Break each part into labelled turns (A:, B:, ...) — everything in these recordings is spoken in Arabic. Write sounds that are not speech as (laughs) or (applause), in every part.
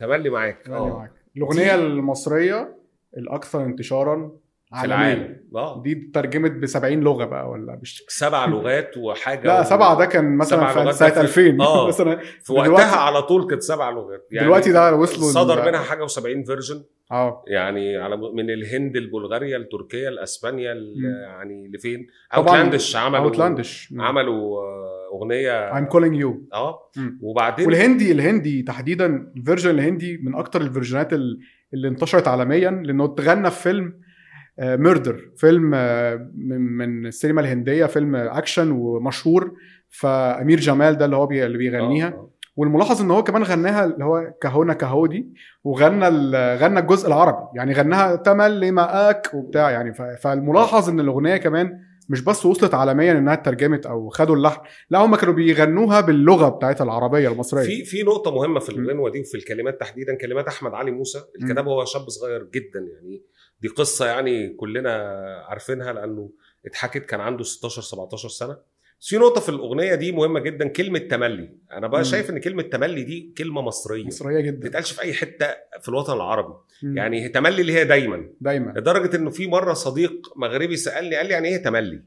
A: تملي معاك
B: تملي
A: اه
B: معاك الاغنيه المصريه الاكثر انتشارا
A: في
B: عالميا
A: العالم اه
B: دي اترجمت ب 70 لغه بقى ولا مش
A: سبع لغات وحاجه
B: لا
A: و-
B: سبعه ده كان مثلا
A: سبعة
B: في
A: لغات
B: سنه
A: ده
B: 2000 (laughs)
A: آه.
B: مثلا
A: في وقتها
B: دلوقتي-
A: على طول كانت سبع لغات يعني
B: دلوقتي ده وصلوا
A: صدر
B: لل-
A: منها حاجه و70 فيرجن
B: اه
A: يعني على من الهند لبلغاريا لتركيا لاسبانيا ل-
B: مم.
A: يعني لفين
B: طبعاً
A: اوتلاندش عملوا
B: اوتلاندش
A: عملوا آه، اغنيه
B: I'm calling you
A: اه
B: مم.
A: وبعدين
B: والهندي الهندي تحديدا الفيرجن الهندي من اكتر الفيرجنات ال- اللي انتشرت عالميا لانه اتغنى في فيلم ميردر فيلم آه، من من السينما الهنديه فيلم اكشن ومشهور فامير جمال ده اللي هو بي- اللي بيغنيها
A: آه، آه.
B: والملاحظ ان هو كمان غناها اللي هو كهونا كهودي وغنى ال- غنى الجزء العربي يعني غناها تملي مقاك وبتاع يعني ف- فالملاحظ ان الاغنيه كمان مش بس وصلت عالميا انها اترجمت او خدوا اللحن لا هم كانوا بيغنوها باللغه بتاعتها العربيه المصريه
A: في في نقطه مهمه في
B: طيب. مم.
A: الغنوه دي وفي الكلمات تحديدا كلمات احمد علي موسى
B: مم.
A: الكتاب هو شاب صغير جدا يعني دي قصه يعني كلنا عارفينها لانه اتحكت كان عنده 16 17 سنه بس في نقطه في الاغنيه دي مهمه جدا كلمه تملي انا بقى
B: مم.
A: شايف ان كلمه تملي دي كلمه مصريه
B: مصريه جدا
A: بتتقالش في اي حته في الوطن العربي
B: مم.
A: يعني تملي اللي هي دايما
B: دايما
A: لدرجه انه في مره صديق مغربي سالني قال لي يعني ايه تملي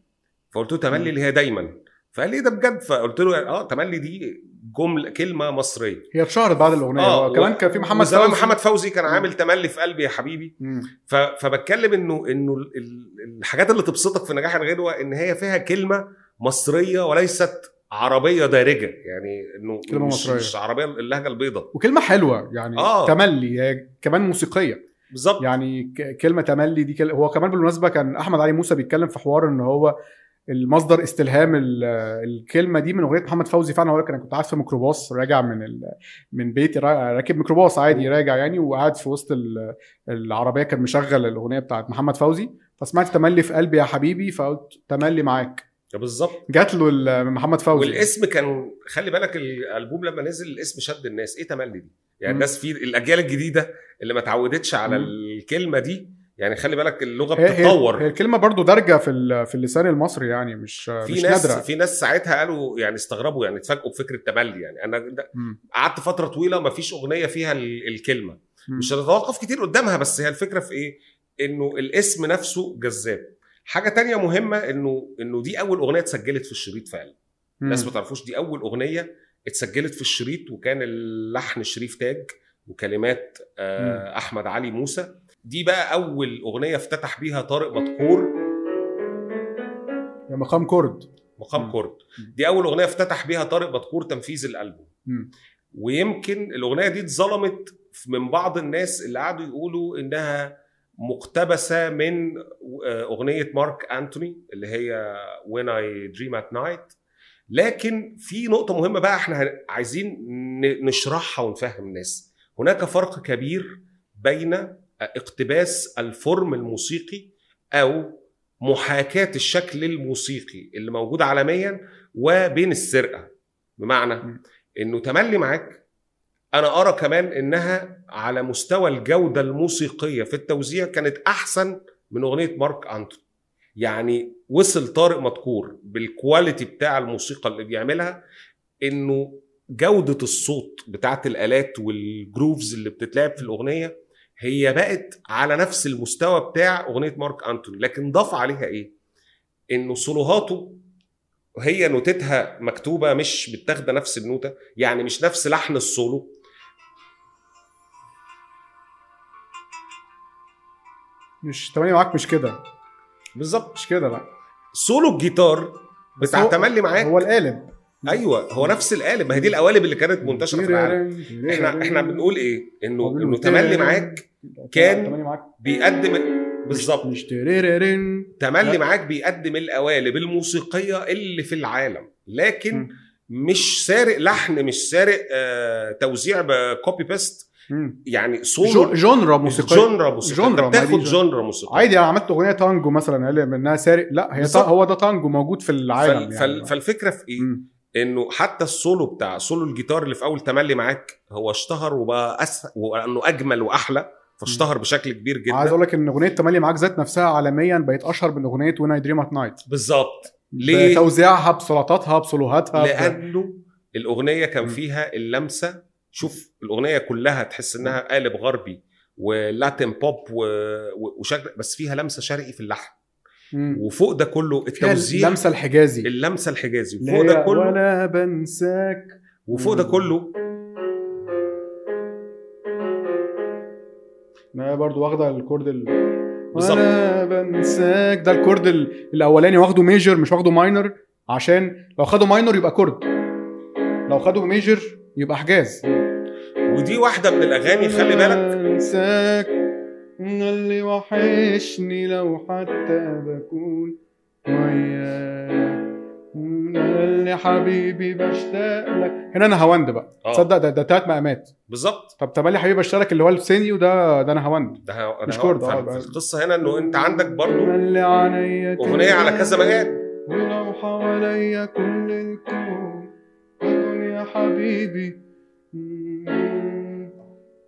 A: فقلت له
B: مم.
A: تملي اللي هي دايما فقال لي إيه ده بجد فقلت له اه تملي دي جمله كلمه مصريه
B: هي اتشهرت بعد الاغنيه
A: آه،
B: آه
A: و-
B: كمان كان في محمد
A: زمان
B: فوزي
A: محمد فوزي كان
B: مم.
A: عامل تملي في قلبي يا حبيبي
B: مم.
A: ف... فبتكلم انه انه ال- ال- الحاجات اللي تبسطك في نجاح الغدوه ان هي فيها كلمه مصريه وليست عربيه دارجه يعني انه
B: كلمة
A: مش
B: مصرية.
A: مش عربيه اللهجه البيضاء
B: وكلمه حلوه يعني آه.
A: آه.
B: تملي هي كمان موسيقيه
A: بالظبط
B: يعني ك- كلمه تملي دي كل... هو كمان بالمناسبه كان احمد علي موسى بيتكلم في حوار ان هو المصدر استلهام ال- الكلمه دي من اغنيه محمد فوزي فعلا هو قال لك انا كنت قاعد في ميكروباص راجع من ال... من بيتي را- راكب ميكروباص عادي راجع يعني وقاعد في وسط ال... العربيه كان مشغل الاغنيه بتاعت محمد فوزي فسمعت تملي في قلبي يا حبيبي فقلت تملي معاك
A: بالظبط
B: جات له ال- من محمد فوزي
A: والاسم كان خلي بالك الالبوم لما نزل الاسم شد الناس ايه تملي دي يعني
B: مم.
A: الناس في الاجيال الجديده اللي ما اتعودتش على
B: مم.
A: الكلمه دي يعني خلي بالك اللغه
B: هي- هي-
A: بتتطور
B: هي الكلمه برضو دارجه في ال- في اللسان المصري يعني مش
A: في
B: مش
A: ناس
B: نادره
A: في ناس ساعتها قالوا يعني استغربوا يعني اتفاجئوا بفكره تملي يعني انا ده-
B: مم.
A: قعدت فتره طويله ما فيش اغنيه فيها ال- الكلمه
B: مم.
A: مش هنتوقف كتير قدامها بس هي الفكره في ايه؟ انه الاسم نفسه جذاب حاجه تانية مهمه انه انه دي اول اغنيه اتسجلت في الشريط فعلا
B: مم.
A: الناس ما تعرفوش دي اول اغنيه اتسجلت في الشريط وكان اللحن شريف تاج وكلمات آه احمد علي موسى دي بقى اول اغنيه افتتح بيها طارق مدحور
B: يا مقام كرد مم.
A: مقام كرد
B: مم.
A: دي اول اغنيه افتتح بيها طارق مدحور تنفيذ الالبوم
B: مم.
A: ويمكن الاغنيه دي اتظلمت من بعض الناس اللي قعدوا يقولوا انها مقتبسه من اغنيه مارك انتوني اللي هي When I Dream at Night لكن في نقطه مهمه بقى احنا هن- عايزين ن- نشرحها ونفهم الناس هناك فرق كبير بين آه، اقتباس الفورم الموسيقي او محاكاه الشكل الموسيقي اللي موجود عالميا وبين السرقه بمعنى انه تملي معاك انا ارى كمان انها على مستوى الجوده الموسيقيه في التوزيع كانت احسن من اغنيه مارك انتون يعني وصل طارق مدكور بالكواليتي بتاع الموسيقى اللي بيعملها انه جوده الصوت بتاعت الالات والجروفز اللي بتتلعب في الاغنيه هي بقت على نفس المستوى بتاع اغنيه مارك انتون لكن ضاف عليها ايه انه سولوهاته هي نوتتها مكتوبه مش متاخده نفس النوته يعني مش نفس لحن السولو
B: مش تملي معاك مش كده
A: بالظبط
B: مش كده لا
A: سولو الجيتار
B: بس
A: بتاع
B: هو-
A: تملي معاك
B: هو القالب
A: ايوه هو نفس القالب ما هي دي القوالب اللي كانت منتشره في العالم احنا احنا بنقول ايه انه انه
B: إيه؟
A: تملي معاك كان
B: تملي معاك
A: بيقدم بالظبط
B: مش تيريرين.
A: تملي
B: لا.
A: معاك بيقدم القوالب الموسيقيه اللي في العالم لكن
B: مم.
A: مش سارق لحن مش سارق آه توزيع بكوبي بيست
B: مم.
A: يعني
B: جو-
A: سولو
B: جونرا موسيقيه
A: جونرا موسيقى
B: جونرا،
A: انت
B: ما دي
A: بتاخد
B: جونرا.
A: جونرا موسيقى
B: عادي انا عملت اغنيه تانجو مثلا قال لي منها سارق لا هي تا...
A: بالظبط.
B: هو ده تانجو موجود في العالم
A: فال...
B: يعني
A: فال... فالفكره في ايه؟
B: مم.
A: انه حتى السولو بتاع سولو الجيتار اللي في اول تملي معاك هو اشتهر وبقى اسهل وانه اجمل واحلى فاشتهر بشكل كبير
B: عايز
A: جدا
B: اقول لك ان اغنيه تملي معاك ذات نفسها عالميا بقت اشهر من اغنيه وين اي دريم ات نايت
A: بالظبط ليه؟
B: بتوزيعها بسلطاتها بسولوهاتها ب-
A: لانه الاغنيه كان
B: مم.
A: فيها اللمسه شوف الاغنيه كلها تحس انها قالب غربي ولاتين بوب و... و- وشكل بس فيها لمسه شرقي في اللحن
B: مم.
A: وفوق ده كله
B: فيها
A: التوزيع
B: اللمسه الحجازي
A: اللمسه الحجازي
B: اللي
A: وفوق ده
B: هي
A: كله
B: وانا بنساك
A: وفوق ده كله
B: ما هي برضه واخده الكورد ال...
A: بالظبط.
B: وانا بنساك ده الكورد ال- الاولاني واخده ميجر مش واخده ماينر عشان لو خده ماينر يبقى كورد لو خده ميجر يبقى حجاز
A: ودي واحده من الاغاني خلي بالك
B: انساك اللي وحشني لو حتى بكون وياك اللي حبيبي بشتاق لك هنا انا هوند بقى
A: آه.
B: تصدق ده ده تلات مقامات
A: بالظبط
B: طب تملي حبيبي بشتاق اللي هو السينيو ده ده انا هوند
A: ده ه- أنا
B: مش
A: هقعد
B: كورد،
A: أفهم.
B: آه، بقى.
A: القصه هنا انه انت عندك برضو
B: ملي عينيا
A: اغنيه على كذا مقام
B: ولو حواليا كل الكون أكون يا حبيبي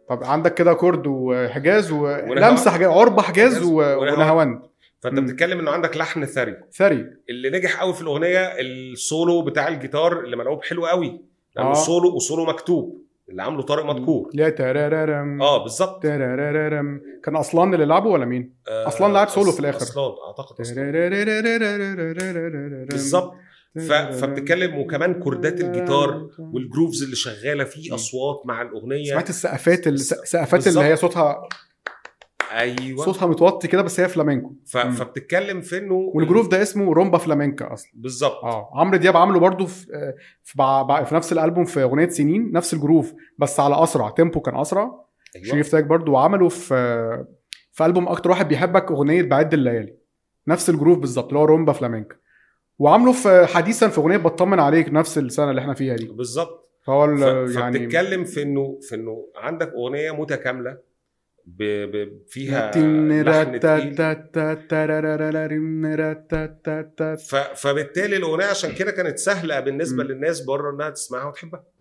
B: طب عندك كده كرد وحجاز
A: ونهاوند.
B: ولمسه حجاز عربه حجاز و-
A: ونهاوند.
B: ونهاوند
A: فانت
B: مم.
A: بتتكلم انه عندك لحن ثري
B: ثري
A: اللي نجح قوي في الاغنيه السولو بتاع الجيتار اللي ملعوب حلو قوي لانه
B: آه.
A: آه. سولو وسولو مكتوب اللي عامله طارق مدكور
B: لا ترارم
A: اه بالظبط
B: ترارم كان اصلان اللي لعبه ولا مين؟
A: آه،
B: أصلان لعب سولو
A: أص-
B: في الآخر.
A: اصلان اعتقد أصلان.
B: ترارارارارارارارارارارارارارارارارارارارارارارارارارارارارارارارارارارارارارارارارارارارارارارارارارارارم.
A: بالظبط ف... فبتتكلم وكمان كوردات الجيتار والجروفز اللي شغاله
B: مم.
A: فيه اصوات مع الاغنيه
B: سمعت السقفات السقفات اللي
A: بالظبط.
B: هي صوتها
A: ايوه
B: صوتها متوطي كده بس هي فلامينكو
A: ف...
B: مم.
A: فبتتكلم في انه
B: والجروف ده اسمه رومبا فلامينكا اصلا
A: بالظبط
B: اه عمرو دياب عامله برضه في في, بع- بع- في نفس الالبوم في اغنيه سنين نفس الجروف بس على اسرع تيمبو كان اسرع
A: ايوه
B: شريف تاج برضه وعمله في في البوم اكتر واحد بيحبك اغنيه بعد الليالي نفس الجروف بالظبط اللي هو رومبا فلامينكا وعامله في حديثا في اغنيه بطمن عليك نفس السنه اللي احنا فيها دي
A: بالظبط
B: فهو
A: ف...
B: ال- يعني
A: فبتتكلم في انه في انه عندك اغنيه متكامله ب... ب... فيها
B: تن-
A: لحن
B: رتا-
A: تقيل
B: تا- تارارارارم- رتا- تا- تا-
A: ف... فبالتالي الاغنيه عشان كده كانت سهله بالنسبه
B: مم.
A: للناس بره انها تسمعها وتحبها